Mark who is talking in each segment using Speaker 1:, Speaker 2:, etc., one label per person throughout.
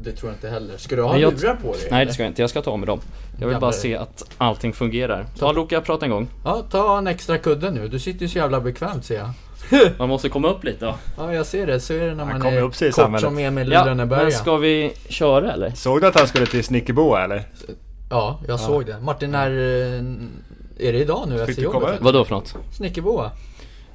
Speaker 1: Det tror jag inte heller. Ska du ha
Speaker 2: Men jag-
Speaker 1: lurar på dig?
Speaker 2: Nej
Speaker 1: eller?
Speaker 2: det ska jag inte, jag ska ta med dem. Jag vill bara
Speaker 1: Gammal.
Speaker 2: se att allting fungerar. Ta Luka, prata en gång.
Speaker 1: Ja, ta en extra kudde nu. Du sitter ju så jävla bekvämt ser jag.
Speaker 2: Man måste komma upp lite då.
Speaker 1: Ja, jag ser det. Så är det när
Speaker 3: Han
Speaker 1: man
Speaker 3: kommer
Speaker 1: är
Speaker 3: upp sig i
Speaker 1: kort
Speaker 3: samhället.
Speaker 1: som Emil i
Speaker 2: Ja,
Speaker 1: Lönneberga.
Speaker 2: men ska vi köra eller?
Speaker 3: Såg du att han skulle till Snickerboa eller?
Speaker 1: Ja, jag såg det. Martin, när... eh, Är det idag nu efter
Speaker 3: du komma
Speaker 1: jobbet?
Speaker 3: ut?
Speaker 2: Vadå för något?
Speaker 1: Snickerboa.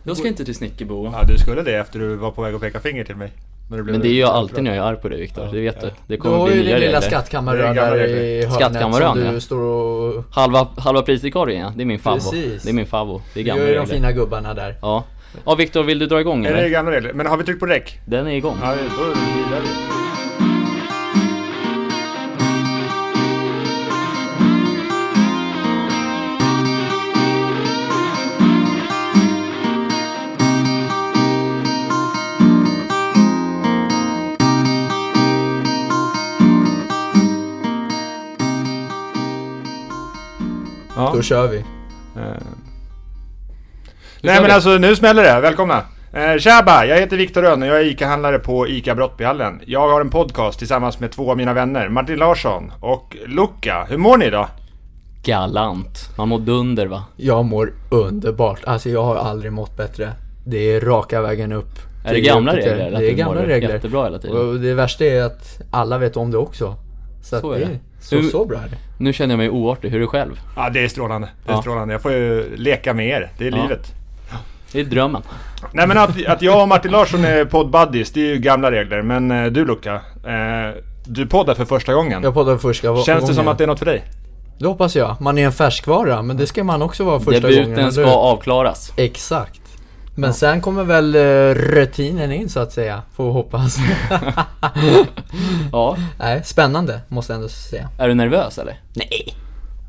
Speaker 2: Jag ska inte till Snickerbo.
Speaker 3: Ja, du skulle det efter du var på väg att peka finger till mig. Men, det blev
Speaker 2: Men det är ju alltid när jag är arg på dig Viktor, det vet du. Det
Speaker 1: Du
Speaker 2: kommer
Speaker 1: har
Speaker 2: bli
Speaker 1: ju din
Speaker 2: nya
Speaker 1: lilla
Speaker 2: regler.
Speaker 3: Det är
Speaker 1: skattkammarö
Speaker 3: en gammal
Speaker 1: där
Speaker 3: regel.
Speaker 1: i hörnet
Speaker 2: Skattkammarön,
Speaker 1: som du
Speaker 2: ja.
Speaker 1: står och...
Speaker 2: Halva, halva priset i korgen ja, det är min favvo.
Speaker 1: Precis.
Speaker 2: Det är min favvo. Det är
Speaker 1: Du
Speaker 2: gamla
Speaker 1: gör ju de
Speaker 2: regler.
Speaker 1: fina gubbarna där.
Speaker 2: Ja. Ja Viktor, vill du dra igång
Speaker 3: Är det
Speaker 2: eller?
Speaker 3: gamla regler? Men har vi tryckt på räck?
Speaker 2: Den är igång.
Speaker 3: Ja, då vilar vi. Ja.
Speaker 1: Då kör vi.
Speaker 3: Nej
Speaker 2: kör
Speaker 3: men
Speaker 2: vi.
Speaker 3: alltså nu smäller det, välkomna! Eh, Tjaba! Jag heter Viktor Rönn och jag är ICA-handlare på ICA Brottbyhallen. Jag har en podcast tillsammans med två av mina vänner, Martin Larsson och Luca. Hur mår ni idag?
Speaker 2: Galant. Man mår dunder va?
Speaker 1: Jag mår underbart. Alltså jag har aldrig mått bättre. Det är raka vägen upp.
Speaker 2: Är det
Speaker 1: till
Speaker 2: gamla
Speaker 1: Jupiter.
Speaker 2: regler? att
Speaker 1: Det är
Speaker 2: du mår
Speaker 1: gamla regler.
Speaker 2: Jättebra hela tiden.
Speaker 1: Och det värsta är att alla vet om det också. Så,
Speaker 2: Så
Speaker 1: att
Speaker 2: är
Speaker 1: det
Speaker 2: det.
Speaker 1: är så,
Speaker 2: Hur-
Speaker 1: så bra är det.
Speaker 2: Nu känner jag mig oartig, hur är du själv?
Speaker 3: Ja det är strålande. Det är
Speaker 2: Ja.
Speaker 3: strålande. Jag får ju leka med er. Det är
Speaker 2: Ja.
Speaker 3: livet.
Speaker 2: Det är drömmen.
Speaker 3: Nej men att, att jag och Martin Larsson är poddbuddies, det är ju gamla regler. Men eh, du Luca, eh, du poddar för första gången.
Speaker 1: Jag poddar första gången.
Speaker 3: Känns det som att det är något för dig?
Speaker 1: Det hoppas jag. Man är en färskvara, men det ska man också vara första gången.
Speaker 2: Debuten
Speaker 1: eller
Speaker 2: ska
Speaker 1: hur?
Speaker 2: avklaras.
Speaker 1: Exakt. Men sen kommer väl eh, rutinen in så att säga, får vi hoppas.
Speaker 2: Ja.
Speaker 1: Nej, spännande måste jag ändå säga.
Speaker 2: Är du nervös eller?
Speaker 1: Nej.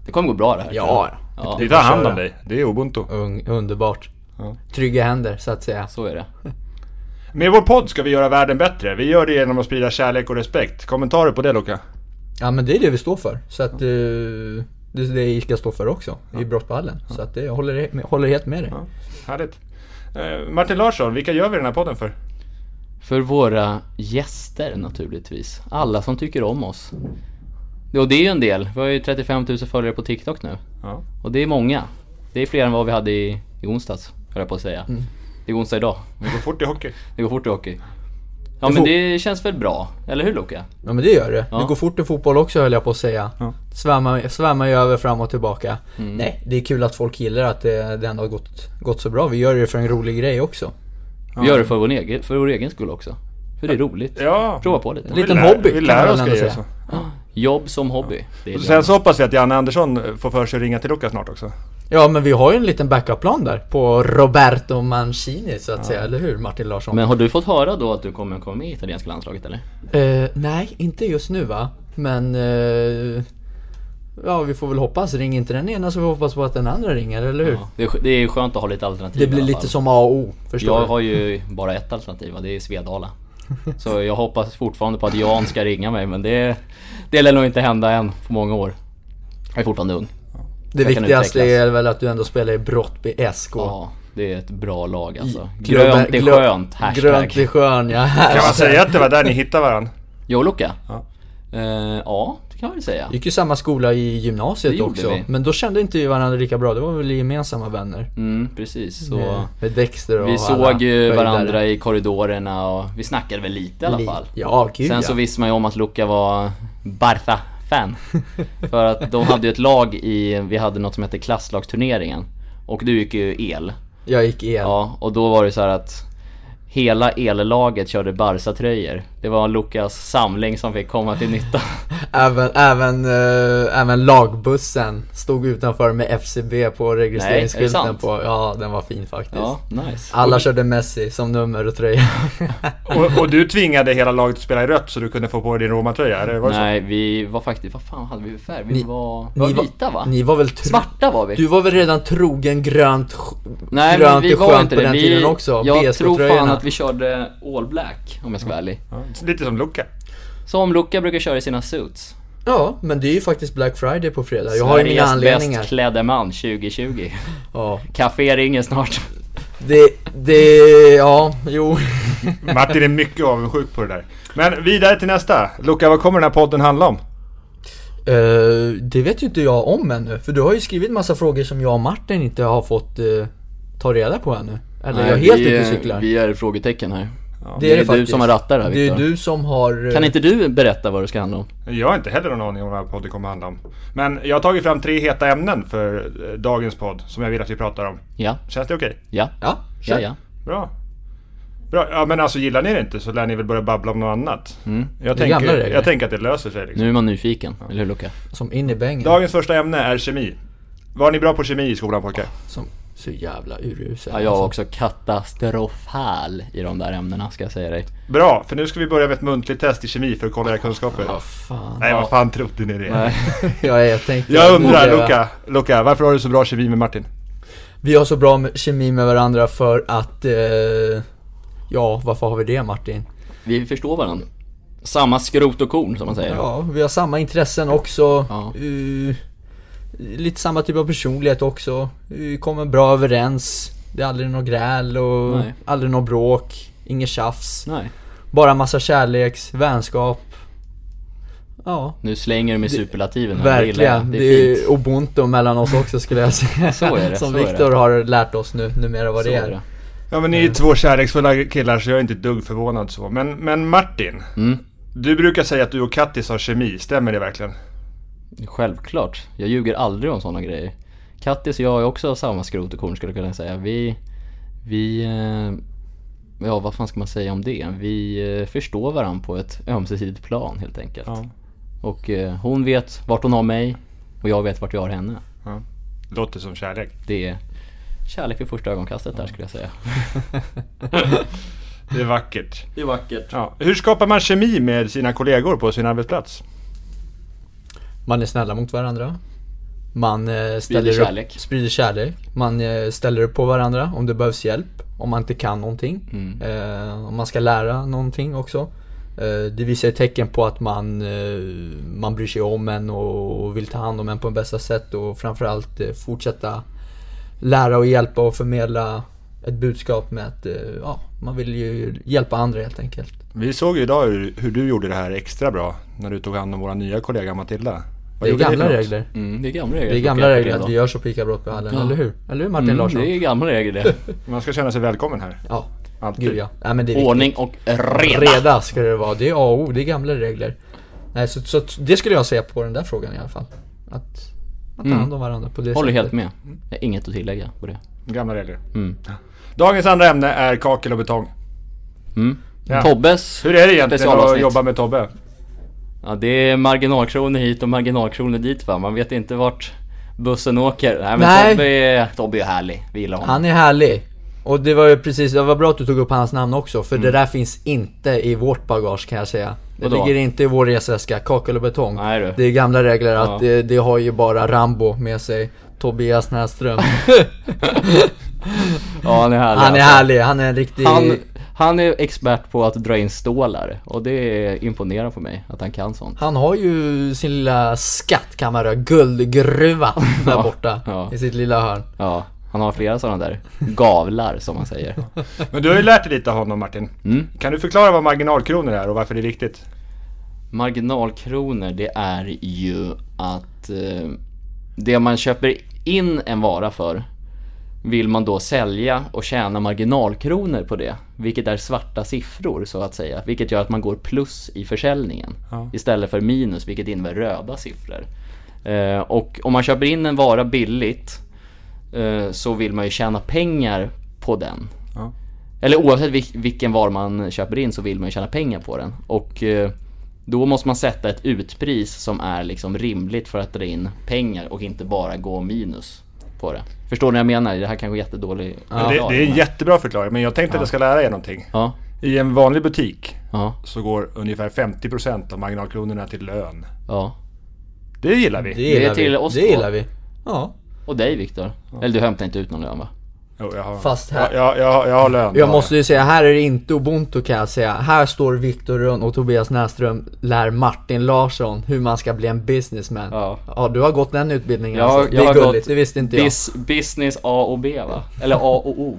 Speaker 2: Det kommer gå bra det här.
Speaker 1: Ja,
Speaker 2: ja
Speaker 3: Vi tar hand om
Speaker 1: köra.
Speaker 3: dig. Det är ubuntu.
Speaker 1: Un- underbart.
Speaker 3: Ja.
Speaker 1: Trygga händer så att säga.
Speaker 2: så är det.
Speaker 3: Med vår podd ska vi göra världen bättre. Vi gör det genom att sprida kärlek och respekt. Kommentarer på det Luca?
Speaker 1: Ja men det är det vi står för. Så att eh, det är det ICA står för också, i Brottballen. Så att det, jag håller, he- håller helt med dig.
Speaker 3: Ja, härligt. Eh, Martin Larsson, vilka gör vi den här podden för?
Speaker 2: För våra gäster naturligtvis. Alla som tycker om oss. Och det är ju en del. Vi har ju 35 000 följare på TikTok nu.
Speaker 3: Ja.
Speaker 2: Och det är många. Det är fler än vad vi hade i, i onsdags, höll jag på att säga.
Speaker 1: Mm.
Speaker 2: Det är onsdag idag.
Speaker 3: Det går fort i hockey.
Speaker 2: Det går fort i hockey. Ja
Speaker 1: Det
Speaker 2: men
Speaker 1: får-
Speaker 2: det känns väl bra? Eller hur Luka?
Speaker 1: Ja men det gör det.
Speaker 2: Ja.
Speaker 1: Det går fort i fotboll också höll jag på att säga.
Speaker 3: Ja.
Speaker 1: Svämmar, svämmar ju över fram och tillbaka.
Speaker 2: Mm.
Speaker 1: Nej, det är kul att folk gillar att det, det ändå har gått, gått så bra. Vi gör det för en rolig grej också.
Speaker 2: Vi gör det för vår, egen, för vår egen skull också. För det är roligt.
Speaker 3: Ja.
Speaker 2: Prova på lite.
Speaker 1: Lite- Liten
Speaker 3: vi lär,
Speaker 1: hobby,
Speaker 3: Vi
Speaker 1: kan
Speaker 3: lär
Speaker 1: man
Speaker 3: oss
Speaker 1: ändå
Speaker 3: grejer.
Speaker 1: säga.
Speaker 3: så.
Speaker 2: Jobb som hobby. Det är
Speaker 3: Och Sen så hoppas vi att Janne Andersson får för sig att ringa till Luca snart också.
Speaker 1: Ja men vi har ju en liten backup-plan där på Roberto Mancini så att säga, eller hur Martin Larsson?
Speaker 2: Men har du fått höra då att du kommer komma med i italienska landslaget eller?
Speaker 1: Eh, nej, inte just nu va? Men... eh, ja, vi får väl hoppas. Ring inte den ena så får vi hoppas på att den andra ringer, eller hur?
Speaker 2: Ja, det, är, sk- det är skönt att ha lite alternativ
Speaker 1: Det
Speaker 2: i
Speaker 1: blir
Speaker 2: alla
Speaker 1: lite
Speaker 2: fall.
Speaker 1: som A och O, förstår
Speaker 2: Jag
Speaker 1: du?
Speaker 2: har ju bara ett alternativ och det är Svedala. Så jag hoppas fortfarande på att Jan ska ringa mig men det, det lär nog inte hända än på många år. Jag är fortfarande ung.
Speaker 1: Det
Speaker 2: jag kan
Speaker 1: viktigaste
Speaker 2: utvecklas.
Speaker 1: är väl att du ändå spelar i Brottby SK.
Speaker 2: Ja, det är ett bra lag alltså.
Speaker 1: Glöm-
Speaker 2: Grönt är
Speaker 1: glöm-
Speaker 2: skönt, hashtag.
Speaker 1: Grönt är skönt, ja.
Speaker 3: Kan man säga att det var där ni hittade varandra?
Speaker 2: Jo Luca?
Speaker 3: Ja.
Speaker 2: Eh, ja, det kan man väl säga.
Speaker 1: gick ju samma skola i
Speaker 2: Det
Speaker 1: gymnasiet
Speaker 2: gjorde
Speaker 1: också.
Speaker 2: vi.
Speaker 1: Men då kände inte vi varandra lika bra. Det var väl gemensamma vänner.
Speaker 2: Mm, precis. Så
Speaker 1: Med- Med Dexter och
Speaker 2: vi
Speaker 1: alla
Speaker 2: såg ju
Speaker 1: höjdare.
Speaker 2: varandra i korridorerna och vi snackade väl lite i alla
Speaker 1: Li-
Speaker 2: fall.
Speaker 1: Ja, gud
Speaker 2: Sen
Speaker 1: ja.
Speaker 2: så visste man ju om att Luca var Barca-fan. För att de hade ju ett lag i, vi hade något som hette klasslagsturneringen. Och du gick ju el.
Speaker 1: Jag gick el.
Speaker 2: Ja, och då var det så här att hela ellaget körde Barca-tröjor. Det var Lukas samling som fick komma till nytta.
Speaker 1: Även, även, eh, även lagbussen stod utanför med FCB på
Speaker 2: Nej, är det
Speaker 1: registreringsskylten
Speaker 2: sant?
Speaker 1: på. Ja, den var fin faktiskt.
Speaker 2: Ja, nice.
Speaker 1: Alla körde Messi som nummer och tröja.
Speaker 3: Och, och du tvingade hela laget att spela i rött så du kunde få på dig din Roma-tröja? Eller var det
Speaker 2: Nej, vi var faktiskt, vad fan hade vi för färg? Vi
Speaker 1: Ni-
Speaker 2: var, vi var vita va?
Speaker 1: Ni var väl tro-
Speaker 2: Svarta var vi.
Speaker 1: Du var väl redan trogen grönt, sk-
Speaker 2: Nej men
Speaker 1: grönt
Speaker 2: vi
Speaker 1: och
Speaker 2: var
Speaker 1: skönt
Speaker 2: inte
Speaker 1: på
Speaker 2: det.
Speaker 1: den
Speaker 2: vi,
Speaker 1: tiden också?
Speaker 2: jag tror fan
Speaker 1: BSK-tröjorna.
Speaker 2: att vi körde all black om jag ska vara ärlig.
Speaker 3: så? Ja, lite som Luca.
Speaker 2: Som Luca brukar köra i sina suits.
Speaker 1: Ja, men det är ju faktiskt Black Friday på fredag. Jag har ju mina
Speaker 2: Sveriges
Speaker 1: anledningar.
Speaker 2: bäst klädde man 2020.
Speaker 1: Ja.
Speaker 2: Café ringer snart.
Speaker 1: Det, det, ja, jo.
Speaker 3: Martin är mycket avundsjuk på det där. Men vidare till nästa. Luca, vad kommer den här podden handla om?
Speaker 1: Eh, det vet ju inte jag om ännu. För du har ju skrivit massa frågor som jag och Martin inte har fått eh, ta reda på ännu. Eller jag är helt
Speaker 2: vi,
Speaker 1: ute och cyklar.
Speaker 2: Vi är frågetecken här.
Speaker 1: det
Speaker 2: är du som har rattar här,
Speaker 1: Det är
Speaker 2: Viktor.
Speaker 1: du som har... eh,
Speaker 2: Kan inte du berätta vad det ska handla om?
Speaker 3: Jag har inte heller någon aning om vad den här podden kommer handla om. Men jag har tagit fram tre heta ämnen för eh, dagens podd som jag vill att vi pratar om.
Speaker 2: Ja,
Speaker 3: Känns det okej?
Speaker 2: ja,
Speaker 1: Ja,
Speaker 2: ja,
Speaker 1: kör.
Speaker 2: ja.
Speaker 3: Bra. Bra. Ja men alltså gillar ni det inte så lär ni väl börja babbla om något annat. Mm. Jag,
Speaker 1: Det är gamla
Speaker 3: tänker,
Speaker 1: regler.
Speaker 3: jag tänker att det löser sig. Liksom.
Speaker 2: Nu är man nyfiken, eller hur Luca?
Speaker 1: Som in i bängen.
Speaker 3: Dagens första ämne är kemi. Var ni bra på kemi i skolan pojkar?
Speaker 1: Som så jävla urusel.
Speaker 2: Ja, jag var
Speaker 1: alltså.
Speaker 2: också katastrofal i de där ämnena ska jag säga dig.
Speaker 3: Bra, för nu ska vi börja med ett muntligt test i kemi för att kolla era kunskaper.
Speaker 1: Fan.
Speaker 3: Nej, vad fan trodde ni det?
Speaker 1: Ja, jag tänkte...
Speaker 3: Jag undrar,
Speaker 1: borde-
Speaker 3: Luca, Luca, varför har du så bra kemi med Martin?
Speaker 1: Vi har så bra med- kemi med varandra för att... Eh, ja, varför har vi det Martin?
Speaker 2: Vi förstår varandra. Samma skrot och korn som man säger.
Speaker 1: Ja, vi har samma intressen också.
Speaker 2: Ja.
Speaker 1: Eh, lite samma typ av personlighet också. Vi kommer bra överens. Det är aldrig något gräl och
Speaker 2: Nej.
Speaker 1: aldrig något bråk. Inget tjafs.
Speaker 2: Nej,
Speaker 1: Bara massa kärleks, vänskap. Ja,
Speaker 2: nu slänger du med superlativen. här, det gillar jag.
Speaker 1: verkligen.
Speaker 2: Det är fint.
Speaker 1: ubuntu mellan oss också skulle jag säga.
Speaker 2: Så är det,
Speaker 1: Som
Speaker 2: så är
Speaker 1: Viktor har lärt oss nu, numera vad
Speaker 2: Så
Speaker 1: det
Speaker 2: är
Speaker 1: är.
Speaker 2: det.
Speaker 3: Ja, men ni är ju två kärleksfulla killar så jag är inte ett dugg förvånad så. Men, men Martin,
Speaker 2: Mm.
Speaker 3: du brukar säga att du och Kattis har kemi, stämmer det verkligen?
Speaker 2: Självklart. Jag ljuger aldrig om sådana grejer. Kattis och jag är också av samma skrot och korn skulle jag kunna säga. Vi... Vi... eh, Ja, vad fan ska man säga om det? Vi eh, förstår varandra på ett ömsesidigt plan helt enkelt. Och eh, hon vet vart hon har mig och jag vet vart jag har henne.
Speaker 3: Ja. Låter som kärlek.
Speaker 2: Det är kärlek vid första ögonkastet där skulle jag säga.
Speaker 3: Det är vackert.
Speaker 2: Det är vackert.
Speaker 3: Ja. Hur skapar man kemi med sina kollegor på sin arbetsplats?
Speaker 1: Man är snälla mot varandra. Man eh,
Speaker 2: Sprider
Speaker 1: ställer
Speaker 2: kärlek.
Speaker 1: Upp, sprider kärlek. Man eh, ställer upp på varandra om det behövs hjälp. Om man inte kan någonting.
Speaker 2: Mm.
Speaker 1: Eh, om man ska lära någonting också. Eh, det visar ett tecken på att man, eh, man bryr sig om en och, och vill ta hand om en på bästa sätt. Och framförallt eh, fortsätta lära och hjälpa och förmedla ett budskap med att eh, ja, man vill ju hjälpa andra helt enkelt.
Speaker 3: Vi såg ju idag hur, hur du gjorde det här extra bra när du tog hand om vår nya kollega Matilda. Vad
Speaker 1: Det är
Speaker 3: gjorde ni för
Speaker 1: gamla
Speaker 3: något?
Speaker 1: regler.
Speaker 2: Mm, det är gamla regler.
Speaker 1: Det är
Speaker 2: att
Speaker 1: gamla
Speaker 2: plocka upp
Speaker 1: regler
Speaker 2: det
Speaker 1: att vi
Speaker 2: då.
Speaker 1: gör så på ICA Brottbyhallen,
Speaker 2: Ja.
Speaker 1: eller hur? Eller hur Martin
Speaker 2: Mm,
Speaker 1: Larsson?
Speaker 2: det är gamla regler det.
Speaker 3: Man ska känna sig välkommen här.
Speaker 1: Ja,
Speaker 3: Alltid.
Speaker 1: gud ja. Nej men det är viktigt.
Speaker 2: Ordning och reda.
Speaker 1: Reda ska det vara. Det är A och O, det är gamla regler. Nej, så, så det skulle jag säga på den där frågan i alla fall. Att man tar hand om varandra på det
Speaker 2: Mm. Håller
Speaker 1: sättet.
Speaker 2: helt med. Jag har inget att tillägga på det.
Speaker 3: Gamla regler.
Speaker 2: Mm.
Speaker 3: Dagens andra ämne är kakel och betong.
Speaker 2: Mm.
Speaker 3: Ja.
Speaker 2: Tobbes
Speaker 3: Hur är det egentligen att
Speaker 2: specialavsnitt.
Speaker 3: jobba med Tobbe?
Speaker 2: Ja, det är marginalkronor hit och marginalkronor dit va. Man vet inte vart bussen åker. Nej men
Speaker 1: Nej.
Speaker 2: Tobbe, är, Tobbe är härlig. Vi gillar honom.
Speaker 1: Han är härlig. Och det var ju precis, det var bra att du tog upp hans namn också. För det där finns inte i vårt bagage kan jag säga. Det
Speaker 2: Mm. Vadå?
Speaker 1: ligger inte i vår resväska, kakel och betong.
Speaker 2: Nej, du.
Speaker 1: Det är gamla regler att
Speaker 2: Ja.
Speaker 1: det, det har ju bara Rambo med sig. Tobias Näsström.
Speaker 2: Ja han är härlig.
Speaker 1: Han är
Speaker 2: alltså.
Speaker 1: härlig, han är en riktig...
Speaker 2: Han, han är expert på att dra in stålar och det imponerar på mig att han kan sånt.
Speaker 1: Han har ju sin lilla skattkammare, guldgruva, där borta
Speaker 2: ja.
Speaker 1: i sitt lilla hörn.
Speaker 2: Ja, han har flera sådana där gavlar som man säger.
Speaker 3: Men du har ju lärt dig lite av honom Martin.
Speaker 1: Mm.
Speaker 3: Kan du förklara vad marginalkronor är och varför det är viktigt?
Speaker 2: Marginalkronor det är ju att eh, det man köper in en vara för vill man då sälja och tjäna marginalkronor på det, vilket är svarta siffror så att säga, vilket gör att man går plus i försäljningen
Speaker 3: Ja.
Speaker 2: istället för minus, vilket innebär röda siffror. Eh, och om man köper in en vara billigt eh, så vill man ju tjäna pengar på den.
Speaker 3: Ja.
Speaker 2: Eller oavsett vil- vilken vara man köper in så vill man ju tjäna pengar på den. Och eh, då måste man sätta ett utpris som är liksom rimligt för att dra in pengar och inte bara gå minus på det. Förstår ni vad jag menar? Det här kanske är jättedålig
Speaker 3: det, det är en jättebra förklaring, men jag tänkte att jag ska lära er någonting.
Speaker 2: Ja,
Speaker 3: I en vanlig butik
Speaker 2: ja,
Speaker 3: så går ungefär 50% av marginalkronorna till lön.
Speaker 2: ja.
Speaker 3: Det gillar vi.
Speaker 1: Det gillar
Speaker 2: till
Speaker 1: vi.
Speaker 2: oss
Speaker 1: det
Speaker 2: två.
Speaker 1: gillar vi. Ja.
Speaker 2: Och dig Viktor? Eller du hämtar inte ut någon lön va?
Speaker 3: Jo, jag har,
Speaker 1: Fast här-
Speaker 3: Ja, jag, jag, har- jag har lön.
Speaker 1: Jag måste ju säga, här är det inte ubuntu kan jag säga. Här står Viktor Rönn och Tobias Näsström lär Martin Larsson hur man ska bli en businessman.
Speaker 2: Ja.
Speaker 1: du har gått den utbildningen
Speaker 2: Jag, har-
Speaker 1: alltså. Det
Speaker 2: jag
Speaker 1: är
Speaker 2: har
Speaker 1: gulligt,
Speaker 2: gått
Speaker 1: det visste inte
Speaker 2: bis, business A och B va? Eller A och O.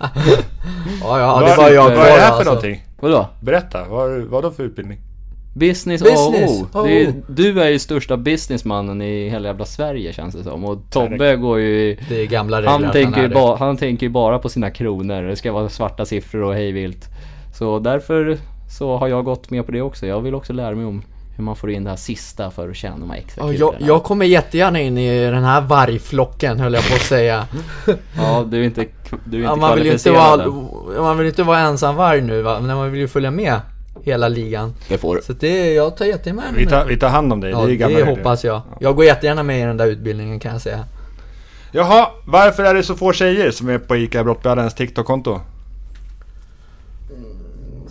Speaker 1: ja, ja,
Speaker 3: vad,
Speaker 1: det var jag
Speaker 3: vad är det här för
Speaker 1: alltså.
Speaker 3: någonting?
Speaker 2: Vadå?
Speaker 3: Berätta, vad, vad då för utbildning?
Speaker 2: Business,
Speaker 1: Business,
Speaker 2: AO. Det är,
Speaker 1: AO.
Speaker 2: du är ju största businessmannen i hela jävla Sverige känns det som. Och Tobbe går ju i...
Speaker 1: Det är gamla regler
Speaker 2: Han
Speaker 1: att
Speaker 2: tänker,
Speaker 1: är
Speaker 2: ju
Speaker 1: det.
Speaker 2: ba, han tänker ju bara på sina kronor. Det ska vara svarta siffror och hej vilt. Så därför så har jag gått med på det också. Jag vill också lära mig om hur man får in det här sista för att tjäna de här extra
Speaker 1: Ja, jag,
Speaker 2: kulorna.
Speaker 1: jag kommer jättegärna in i den här vargflocken höll jag på att säga.
Speaker 2: Ja, du är inte, k- du är inte
Speaker 1: Ja, man, vill ju inte
Speaker 2: kvalificerad
Speaker 1: vara,
Speaker 2: än.
Speaker 1: man vill ju inte vara ensam varg nu va, men man vill ju följa med hela ligan.
Speaker 2: Det får du.
Speaker 1: Så det, jag tar jättegärna
Speaker 3: Vi
Speaker 1: med.
Speaker 3: tar, vi tar hand om dig,
Speaker 1: Ja,
Speaker 3: det är
Speaker 1: det,
Speaker 3: gamla regler.
Speaker 1: hoppas jag. Jag går jättegärna med i den där utbildningen kan jag säga.
Speaker 3: Jaha, varför är det så få tjejer som är på ICA Brottbjörnens TikTok-konto?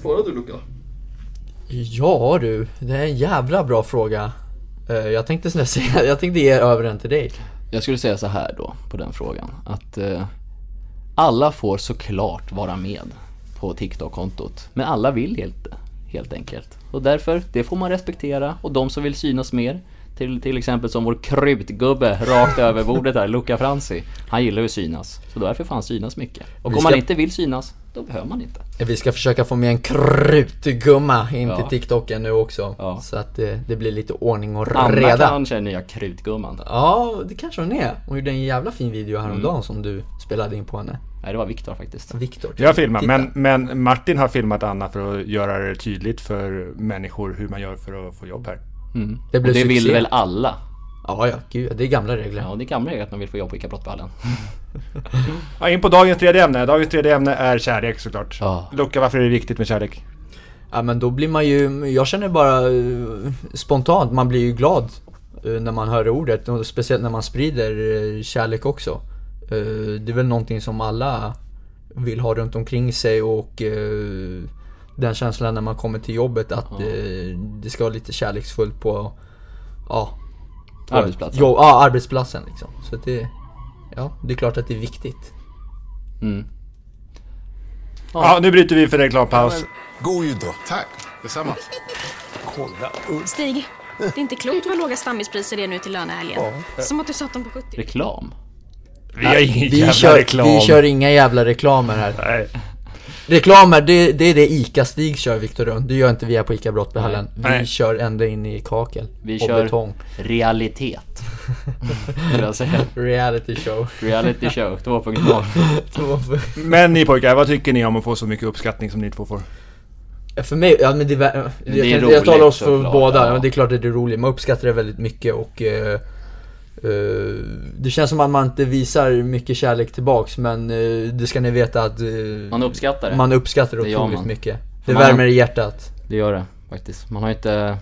Speaker 2: Svarar du Luca?
Speaker 1: Ja du, det är en jävla bra fråga. Eh, Jag tänkte snälla säga, jag tänkte ge över den till dig.
Speaker 2: Jag skulle säga så här då, på den frågan. Att eh, alla får såklart vara med på TikTok-kontot. Men alla vill helt, helt enkelt. Och därför, det får man respektera. Och de som vill synas mer, till, till exempel som vår krutgubbe rakt över bordet här, Luca Franzi. Han gillar ju att synas. Så därför får han synas mycket. Och
Speaker 1: Vi
Speaker 2: om
Speaker 1: ska-
Speaker 2: man inte vill synas, då behöver man inte.
Speaker 1: Vi ska försöka få med en krutgumma in
Speaker 2: Ja.
Speaker 1: till TikToken nu också.
Speaker 2: Ja.
Speaker 1: Så att det, det blir lite ordning och
Speaker 2: Anna
Speaker 1: reda.
Speaker 2: kan känner jag krutgumman.
Speaker 1: Ja, det kanske hon är. Hon gjorde en jävla fin video häromdagen
Speaker 2: Mm.
Speaker 1: som du spelade in på henne.
Speaker 2: Nej, det var Viktor faktiskt.
Speaker 1: Viktor.
Speaker 3: Jag filmar,
Speaker 1: Titta.
Speaker 3: men, men Martin har filmat Anna för att göra det tydligt för människor hur man gör för att få jobb här.
Speaker 2: Mm.
Speaker 1: Det
Speaker 2: Det,
Speaker 1: blev
Speaker 2: och det vill
Speaker 1: succé.
Speaker 2: väl alla?
Speaker 1: Ja, ja, gud, det är gamla regler.
Speaker 2: Ja, det är gamla regler att man vill få jobb på ICA Brottballen.
Speaker 3: Ja, in på dagens tredje ämne. Dagens tredje ämne är kärlek såklart.
Speaker 2: Ja.
Speaker 3: Luca, varför är det viktigt med kärlek?
Speaker 1: Ja men då blir man ju, jag känner bara eh, spontant, man blir ju glad eh, när man hör det ordet. Och speciellt när man sprider eh, kärlek också. Eh, det är väl någonting som alla vill ha runt omkring sig och eh, den känslan när man kommer till jobbet att eh, det ska vara lite kärleksfullt på, ja. på-
Speaker 2: Arbetsplatsen.
Speaker 1: Jo, ja, arbetsplatsen liksom. Så att det, ja, det är klart att det är viktigt.
Speaker 2: Mm.
Speaker 3: Ja, nu bryter vi för reklampaus.
Speaker 4: God jul då. Tack. Detsamma.
Speaker 5: Stig, det är inte klokt vad låga stammispriser är nu till lönehelgen. Som att du satt dem på 70.
Speaker 2: Reklam?
Speaker 3: Vi har ingen jävla
Speaker 1: kör,
Speaker 3: reklam.
Speaker 1: vi kör inga jävla reklamer här.
Speaker 3: Nej.
Speaker 1: Reklamer, det, det är det ICA-Stig kör Viktor Rund. Det gör inte vi här på ICA Brottbyhallen. Vi
Speaker 3: Nej.
Speaker 1: kör ända in i kakel.
Speaker 2: Vi
Speaker 1: och
Speaker 2: kör
Speaker 1: betong.
Speaker 2: realitet. Skulle jag säga.
Speaker 1: Reality show.
Speaker 2: Reality show 2.0.
Speaker 3: Men ni pojkar, vad tycker ni om att få så mycket uppskattning som ni två får?
Speaker 1: för mig, ja men det, är jag,
Speaker 2: det är
Speaker 1: kan- jag
Speaker 2: roligt
Speaker 1: talar oss för
Speaker 2: såklart,
Speaker 1: båda.
Speaker 2: ja.
Speaker 1: Ja. Det är klart att det är roligt. Man uppskattar det väldigt mycket och eh, eh, det känns som att man inte visar mycket kärlek tillbaks men eh, det ska ni veta att eh,
Speaker 2: Man uppskattar det.
Speaker 1: man uppskattar det
Speaker 2: Det gör
Speaker 1: otroligt
Speaker 2: man.
Speaker 1: mycket. Det
Speaker 2: Man-
Speaker 1: värmer i hjärtat.
Speaker 2: Det gör det faktiskt. Man har ju inte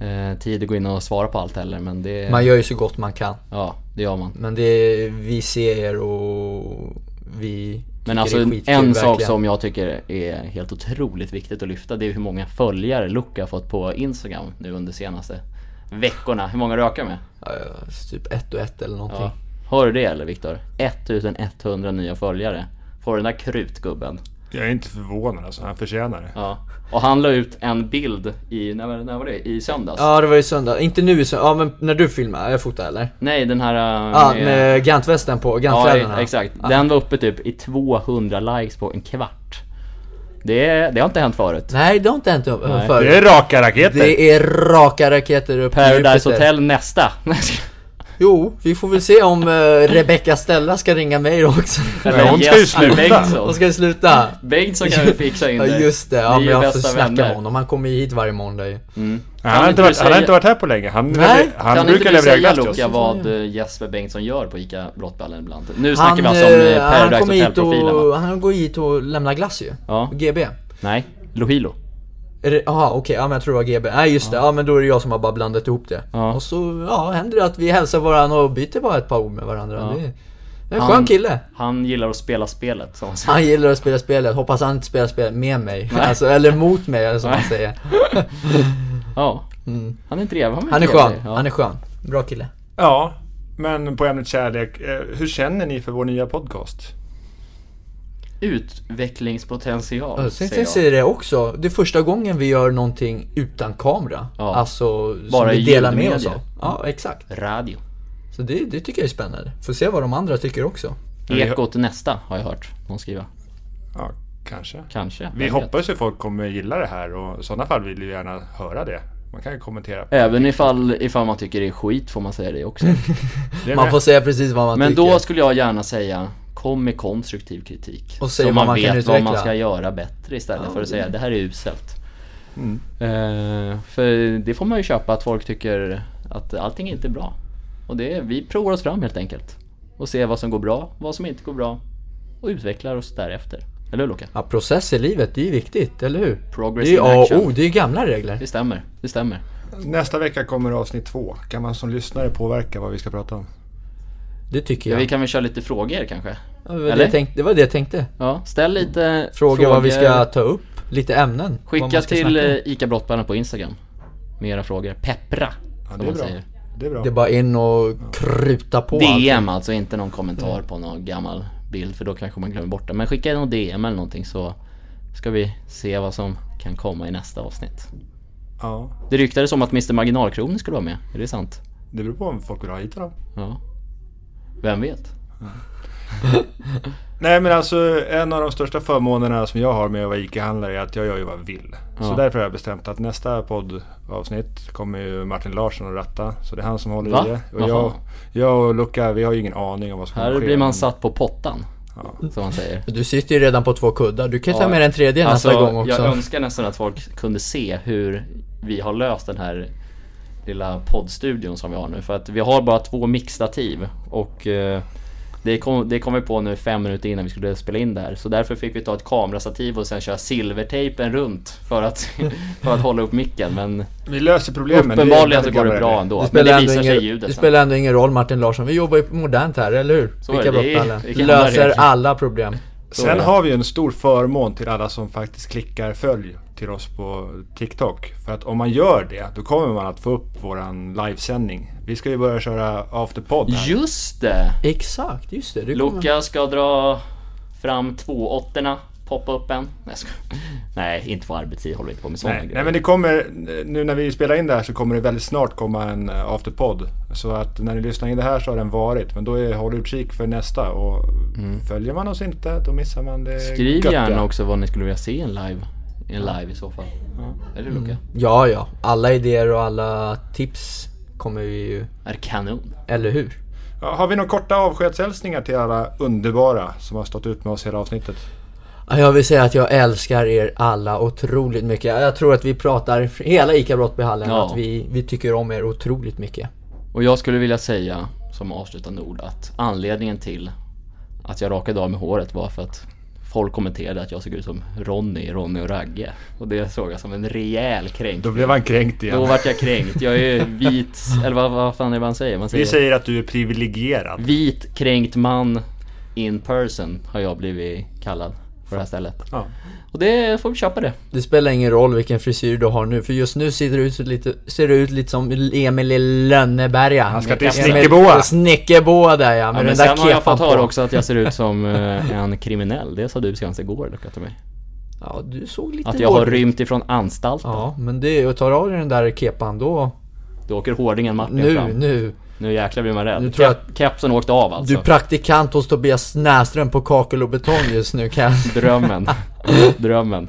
Speaker 2: eh, tid att gå in och svara på allt heller men det...
Speaker 1: Man gör ju så gott man kan.
Speaker 2: Ja, det gör man.
Speaker 1: Men det är, vi ser er och vi
Speaker 2: Men
Speaker 1: tycker
Speaker 2: alltså
Speaker 1: det är
Speaker 2: en
Speaker 1: skitkul,
Speaker 2: sak
Speaker 1: verkligen.
Speaker 2: som jag tycker är helt otroligt viktigt att lyfta det är hur många följare Luca har fått på Instagram nu under senaste veckorna. Hur många röker med?
Speaker 1: Ja, ja, typ ett och ett eller någonting.
Speaker 2: Ja. Hör du det eller Viktor? 1100 nya följare. Får den där krutgubben.
Speaker 3: Jag är inte förvånad alltså, han förtjänar det.
Speaker 2: Ja. Och han la ut en bild i, när, var- när var det? I söndags?
Speaker 1: Ja, det var ju söndag. Inte nu i söndag, ja men när du filmade, jag fotade eller?
Speaker 2: Nej den här... äh,
Speaker 1: Ja, med Gantvästen på, Gantkläderna.
Speaker 2: ja, exakt. Den var uppe typ i 200 likes på en kvart. Det, det har inte hänt förut.
Speaker 1: Nej, det har inte hänt Nej. förut.
Speaker 3: Det är raka raketer!
Speaker 1: Det är raka raketer upp till
Speaker 2: Paradise
Speaker 1: Jupiter.
Speaker 2: Hotel nästa. Nej, jag ska-
Speaker 1: Jo, vi får väl se om eh, Rebecca Stella ska ringa mig då också.
Speaker 3: Nej, hon ska ju
Speaker 2: Jesper
Speaker 3: sluta.
Speaker 1: Hon
Speaker 2: Bengtsson.
Speaker 1: ska ju sluta.
Speaker 2: Bengtsson kan vi fixa in
Speaker 1: Ja
Speaker 2: dig.
Speaker 1: just det, ja
Speaker 2: Ni
Speaker 1: men
Speaker 2: är
Speaker 1: jag får
Speaker 2: bästa
Speaker 1: snacka
Speaker 2: vänner.
Speaker 1: med honom. Han kommer ju hit varje måndag ju.
Speaker 3: han, har
Speaker 2: Kan
Speaker 3: inte
Speaker 2: inte
Speaker 3: varit,
Speaker 2: du
Speaker 3: han har
Speaker 2: säga-
Speaker 3: inte varit här på länge. Han,
Speaker 1: Nej.
Speaker 3: han
Speaker 2: kan
Speaker 3: brukar
Speaker 2: inte du säga
Speaker 3: leverera glass till oss.
Speaker 2: Luca vad eh, Jesper Bengtsson gör på ICA Brottballen ibland? Nu snackar
Speaker 1: Han,
Speaker 2: vi alltså om eh,
Speaker 1: eh, han
Speaker 2: Paradise
Speaker 1: kommer hit
Speaker 2: Hotel-profilen va?
Speaker 1: och, han går hit och lämnar glass ju.
Speaker 2: Ja.
Speaker 1: GB.
Speaker 2: Nej, Lohilo.
Speaker 1: Är det- Jaha okej, ja men jag tror det var GB. Nej just det, ja men då är det jag som har bara blandat ihop det.
Speaker 2: Ja.
Speaker 1: Och så ja, händer det att vi hälsar varandra och byter bara ett par ord med varandra. Det är- det är en
Speaker 2: Han-
Speaker 1: skön kille.
Speaker 2: Han gillar att spela spelet som han säger.
Speaker 1: Han gillar att spela spelet, hoppas han inte spelar spelet med mig. Alltså, eller mot mig eller som man säger.
Speaker 2: Ja. Han är trevlig.
Speaker 1: Mm. Han är
Speaker 2: trevlig.
Speaker 1: skön,
Speaker 2: Ja.
Speaker 1: han är skön. Bra kille.
Speaker 3: Ja, men på ämnet kärlek. eh, Hur känner ni för vår nya podcast?
Speaker 2: Utvecklingspotential,
Speaker 1: Ja, Sen
Speaker 2: säger
Speaker 1: sen
Speaker 2: jag.
Speaker 1: säger det också, det är första gången vi gör någonting utan kamera.
Speaker 2: Ja.
Speaker 1: Alltså,
Speaker 2: Bara
Speaker 1: som
Speaker 2: i
Speaker 1: vi delar med oss
Speaker 2: ljudmedia.
Speaker 1: av. Ja, exakt.
Speaker 2: Radio.
Speaker 1: Så det, det tycker jag är spännande. Får se vad de andra tycker också.
Speaker 3: vi-
Speaker 2: Ekot nästa har jag hört någon skriva.
Speaker 3: Ja, kanske.
Speaker 2: Kanske.
Speaker 3: Vi
Speaker 2: vem vet.
Speaker 3: hoppas ju folk kommer gilla det här och i sådana fall vill vi gärna höra det. Man kan ju kommentera.
Speaker 2: Även ifall, ifall man tycker det är skit får man säga det också.
Speaker 3: Det är
Speaker 1: Man
Speaker 3: med.
Speaker 1: får säga precis vad man
Speaker 2: Men
Speaker 1: tycker.
Speaker 2: då skulle jag gärna säga Kom med konstruktiv kritik.
Speaker 1: Och säg
Speaker 2: så
Speaker 1: vad
Speaker 2: man
Speaker 1: man
Speaker 2: vet
Speaker 1: kan
Speaker 2: vad man
Speaker 1: utveckla.
Speaker 2: ska göra bättre istället för att säga det här är uselt.
Speaker 1: Mm.
Speaker 2: Eh, för det får man ju köpa att folk tycker att allting inte är bra. Och det, vi provar oss fram helt enkelt. Och ser vad som går bra, vad som inte går bra. Och utvecklar oss därefter. Eller hur Luca?
Speaker 1: Ja, process i livet, det är ju viktigt, eller hur?
Speaker 2: Progress
Speaker 1: det är ju
Speaker 2: in
Speaker 1: A
Speaker 2: action.
Speaker 1: och O, det är ju gamla regler.
Speaker 2: Det stämmer, det stämmer.
Speaker 3: Nästa vecka kommer avsnitt två. Kan man som lyssnare påverka vad vi ska prata om?
Speaker 1: Det tycker
Speaker 2: Ja.
Speaker 1: jag.
Speaker 2: Vi kan väl köra lite frågor kanske?
Speaker 1: Ja, det, var det,
Speaker 2: Eller?
Speaker 1: jag tänkte, det var det jag tänkte.
Speaker 2: Ja, ställ lite
Speaker 1: Fråga vad vi ska ta upp, lite ämnen. vad man
Speaker 2: Skicka
Speaker 1: ska
Speaker 2: till
Speaker 1: snacka om.
Speaker 2: eh, ICA Brottballen på Instagram med era frågor. Peppra,
Speaker 3: Ja,
Speaker 2: som
Speaker 3: det är
Speaker 2: man
Speaker 3: bra.
Speaker 2: säger.
Speaker 3: Det är bra.
Speaker 1: Det är bara in och Mm. kruta på allt.
Speaker 2: DM alltså, inte någon kommentar på någon gammal bild för då kanske man glömmer bort det. Men skicka in någon DM eller någonting så ska vi se vad som kan komma i nästa avsnitt.
Speaker 3: Ja,
Speaker 2: Det ryktades om att Mr Marginalkronen skulle vara med, är det sant?
Speaker 3: det beror på om folk vill ha hit honom.
Speaker 2: Ja. Vem vet?
Speaker 3: Nej men alltså en av de största förmånerna som jag har med att vara ICA-handlare är att jag gör ju vad jag vill. Så därför har jag bestämt att nästa poddavsnitt kommer ju Martin Larsson att ratta. Så det är han som håller
Speaker 2: Va?
Speaker 3: i det. Och jag,
Speaker 2: Jaha.
Speaker 3: jag och Luca, vi har ju ingen aning om vad som kommer
Speaker 2: Här
Speaker 3: ske.
Speaker 2: blir
Speaker 3: men-
Speaker 2: man satt på pottan, som man säger.
Speaker 1: Du sitter ju redan på två kuddar, du kan ju ta
Speaker 2: Ja.
Speaker 1: med en tredje nästa
Speaker 2: Alltså,
Speaker 1: gång också.
Speaker 2: Jag önskar nästan att folk kunde se hur vi har löst den här lilla poddstudion som vi har nu. För att vi har bara två mixtativ och eh, det kom, det kom vi på nu fem minuter innan vi skulle spela in det här. Så därför fick vi ta ett kamerastativ och sen köra silvertejpen runt för att, för att hålla upp micken. Men
Speaker 3: Vi löser problemen.
Speaker 2: uppenbarligen så
Speaker 3: väldigt
Speaker 2: går det
Speaker 3: gamla
Speaker 2: bra
Speaker 3: regler.
Speaker 2: ändå.
Speaker 1: det
Speaker 2: men
Speaker 1: spelar,
Speaker 2: det
Speaker 1: ändå
Speaker 2: visar sig i
Speaker 1: ingen,
Speaker 2: ljudet
Speaker 1: det
Speaker 2: sen.
Speaker 1: spelar ändå ingen roll Martin Larsson, vi jobbar ju modernt här, eller hur?
Speaker 2: är
Speaker 1: Vilka
Speaker 2: det. Det är-
Speaker 1: brottballen.
Speaker 2: det kan vara
Speaker 1: Löser
Speaker 2: regler.
Speaker 1: alla problem.
Speaker 2: Så är
Speaker 3: Sen
Speaker 2: det.
Speaker 3: har vi ju en stor förmån till alla som faktiskt klickar följ till oss på TikTok. För att om man gör det, då kommer man att få upp våran livesändning. Vi ska ju börja köra afterpod här.
Speaker 2: Just det!
Speaker 1: Exakt, just det. Du kommer...
Speaker 2: Luca ska dra fram två åttorna, poppa upp en. Nej, jag skojar. Nej, inte på arbetstid håller vi inte på med sådana
Speaker 3: Nej,
Speaker 2: grejer.
Speaker 3: nej men det kommer, nu när vi spelar in det här så kommer det väldigt snart komma en eh, afterpod. Så att när ni lyssnar in det här så har den varit. Men då är, håll utkik för nästa. Och följer man oss inte då missar man det
Speaker 2: Mm. Skriv
Speaker 3: göttiga.
Speaker 2: gärna också vad ni skulle vilja se i en live. I en live i så fall. Eller Luca?
Speaker 3: Mm.
Speaker 1: Ja, ja. Alla idéer och alla tips kommer vi ju...
Speaker 2: Är kanon.
Speaker 1: Eller hur?
Speaker 3: Ja, Har vi några korta avskedshälsningar till alla underbara som har stått ut med oss hela avsnittet?
Speaker 1: Ja, Jag vill säga att jag älskar er alla otroligt mycket. Jag tror att vi pratar, hela ICA Brottbyhallen,
Speaker 2: Ja.
Speaker 1: att vi, vi tycker om er otroligt mycket.
Speaker 2: Och jag skulle vilja säga som avslutande ord att anledningen till att jag rakade av med håret var för att folk kommenterade att jag såg ut som Ronny, Ronny och Ragge. Och det såg jag som en rejäl kränk.
Speaker 3: Då blev han kränkt igen.
Speaker 2: Då vart jag kränkt. Jag är vit, eller vad, vad fan är det man säger? Man säger,
Speaker 3: Vi säger att du är
Speaker 2: Mm.
Speaker 3: privilegierad.
Speaker 2: Vit kränkt man in person har jag blivit kallad på det här stället.
Speaker 3: Ja.
Speaker 2: Och det får vi köpa det.
Speaker 1: Det spelar ingen roll vilken frisyr du har nu, för just nu ser du ut lite, ser du ut lite som Emil i Lönneberga. Han
Speaker 3: ska till Snickerboa.
Speaker 1: Snickerboa där ja, med
Speaker 2: Ja, men
Speaker 1: den där
Speaker 2: sen har jag
Speaker 1: kepan
Speaker 2: fått höra
Speaker 1: på.
Speaker 2: också att jag ser ut som eh, en kriminell. Det sa du senast igår Luka till mig.
Speaker 1: Ja, du såg lite
Speaker 2: Att jag har
Speaker 1: hård ut.
Speaker 2: rymt ifrån anstalten.
Speaker 1: Ja, men det, och tar av dig den där kepan då.
Speaker 2: Då åker hårdingen Martin
Speaker 1: Nu,
Speaker 2: fram.
Speaker 1: nu.
Speaker 2: Nu jäklar blir man rädd.
Speaker 1: Nu tror jag
Speaker 2: Kep- Kepsen åkte av
Speaker 1: Du är
Speaker 2: alltså.
Speaker 1: praktikant hos Tobias Näsström på Kakel och Betong just nu kan jag
Speaker 2: Drömmen. Drömmen.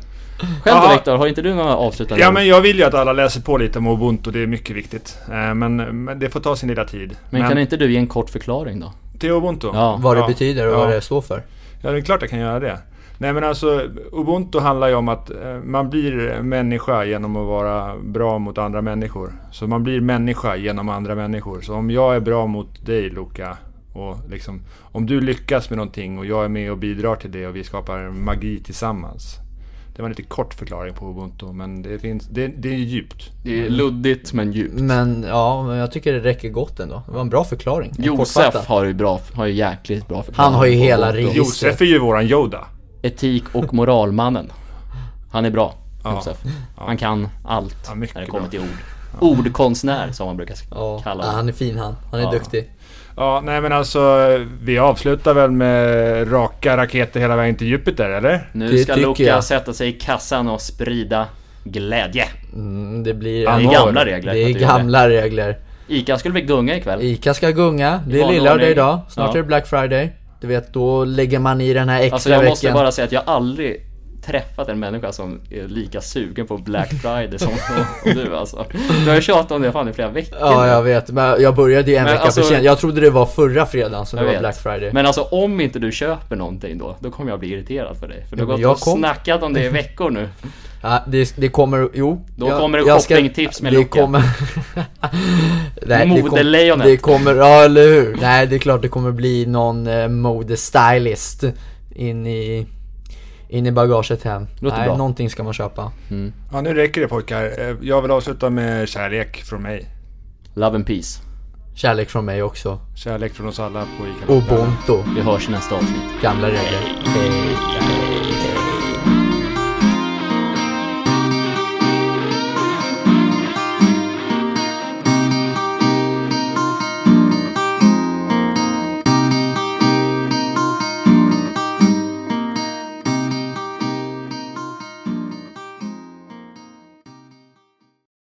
Speaker 2: Själv då
Speaker 3: Ja.
Speaker 2: Viktor, har inte du några avslutande
Speaker 3: Ja
Speaker 2: ord?
Speaker 3: men jag vill ju att alla läser på lite om Ubuntu, det är mycket viktigt. Eh, Men, men det får ta sin lilla tid.
Speaker 2: men kan inte du ge en kort förklaring då?
Speaker 3: Till Ubuntu?
Speaker 2: Ja.
Speaker 1: vad det
Speaker 3: Ja,
Speaker 1: betyder och
Speaker 3: ja.
Speaker 1: vad det står för.
Speaker 3: Ja, det är klart jag kan göra det. Nej men alltså, Ubuntu handlar ju om att eh, man blir människa genom att vara bra mot andra människor. Så man blir människa genom andra människor. Så om jag är bra mot dig Luca, och liksom, om du lyckas med någonting och jag är med och bidrar till det och vi skapar magi tillsammans. Det var en lite kort förklaring på Ubuntu, men det, finns, det, det är djupt.
Speaker 2: Det är luddigt men djupt.
Speaker 1: Men ja, men jag tycker det räcker gott ändå. Det var en bra förklaring.
Speaker 2: Josef
Speaker 1: Kortfattat.
Speaker 2: har ju, bra, har ju jäkligt bra förklaring.
Speaker 1: Han har ju
Speaker 2: på
Speaker 1: hela
Speaker 2: Boto.
Speaker 1: registret. Just det.
Speaker 3: Josef är ju våran Yoda.
Speaker 2: Etik och moralmannen. Han är bra, Josef. Han kan allt
Speaker 3: Ja, mycket
Speaker 2: när det kommer
Speaker 3: bra.
Speaker 2: till ord. Ordkonstnär som man brukar
Speaker 1: Ja,
Speaker 2: kalla
Speaker 1: ja,
Speaker 2: honom.
Speaker 1: han är fin han. Han är duktig.
Speaker 3: Ja, nej men alltså vi avslutar väl med raka raketer hela vägen till Jupiter, eller?
Speaker 2: Nu
Speaker 1: Det
Speaker 2: ska
Speaker 1: tycker
Speaker 2: Luca
Speaker 1: jag.
Speaker 2: sätta sig i kassan och sprida glädje.
Speaker 1: Mm, det blir...
Speaker 2: Det är
Speaker 3: Ja,
Speaker 2: gamla
Speaker 3: det
Speaker 2: regler.
Speaker 1: det är
Speaker 2: att du gör
Speaker 1: gamla regler.
Speaker 2: Ica skulle bli gunga ikväll.
Speaker 1: Ica ska gunga. Det är
Speaker 2: vanlig
Speaker 1: lillördag
Speaker 2: ordning.
Speaker 1: idag. Snart
Speaker 2: Ja.
Speaker 1: är det Black Friday. Du vet, då lägger man i den här extra
Speaker 2: Alltså jag
Speaker 1: veckan.
Speaker 2: måste bara säga att jag aldrig träffat en människa som är lika sugen på Black Friday som, som du alltså. Du har ju tjatat om det fan i flera veckor.
Speaker 1: Ja, jag vet. Men jag började ju en
Speaker 2: Men
Speaker 1: vecka
Speaker 2: alltså-
Speaker 1: för sent. Jag trodde det var förra fredagen som
Speaker 2: Jag
Speaker 1: det var
Speaker 2: vet.
Speaker 1: Black Friday.
Speaker 2: Men alltså om inte du köper någonting då, då kommer jag bli irriterad för dig. För du
Speaker 1: men
Speaker 2: har
Speaker 1: jag
Speaker 2: gått och
Speaker 1: kom-
Speaker 2: snackat om det i veckor nu.
Speaker 1: Ja, det, det kommer, jo.
Speaker 2: Då kommer det shoppingtips med
Speaker 1: det
Speaker 2: Luca.
Speaker 1: kommer, Nej, det kom-
Speaker 2: Modelejonet.
Speaker 1: Det kommer, ja eller hur. Nej, det är klart det kommer bli någon eh, modestylist in i, in i bagaget hem.
Speaker 2: Låter
Speaker 1: Nej,
Speaker 2: bra.
Speaker 1: någonting ska man köpa.
Speaker 3: Ja, nu räcker det pojkar. Eh, Jag vill avsluta med kärlek från mig.
Speaker 2: Love and peace.
Speaker 1: Kärlek från mig också.
Speaker 3: Kärlek från oss alla på ICA.
Speaker 1: Ubuntu,
Speaker 2: Vi hörs i nästa avsnitt.
Speaker 1: gamla regler. Hej.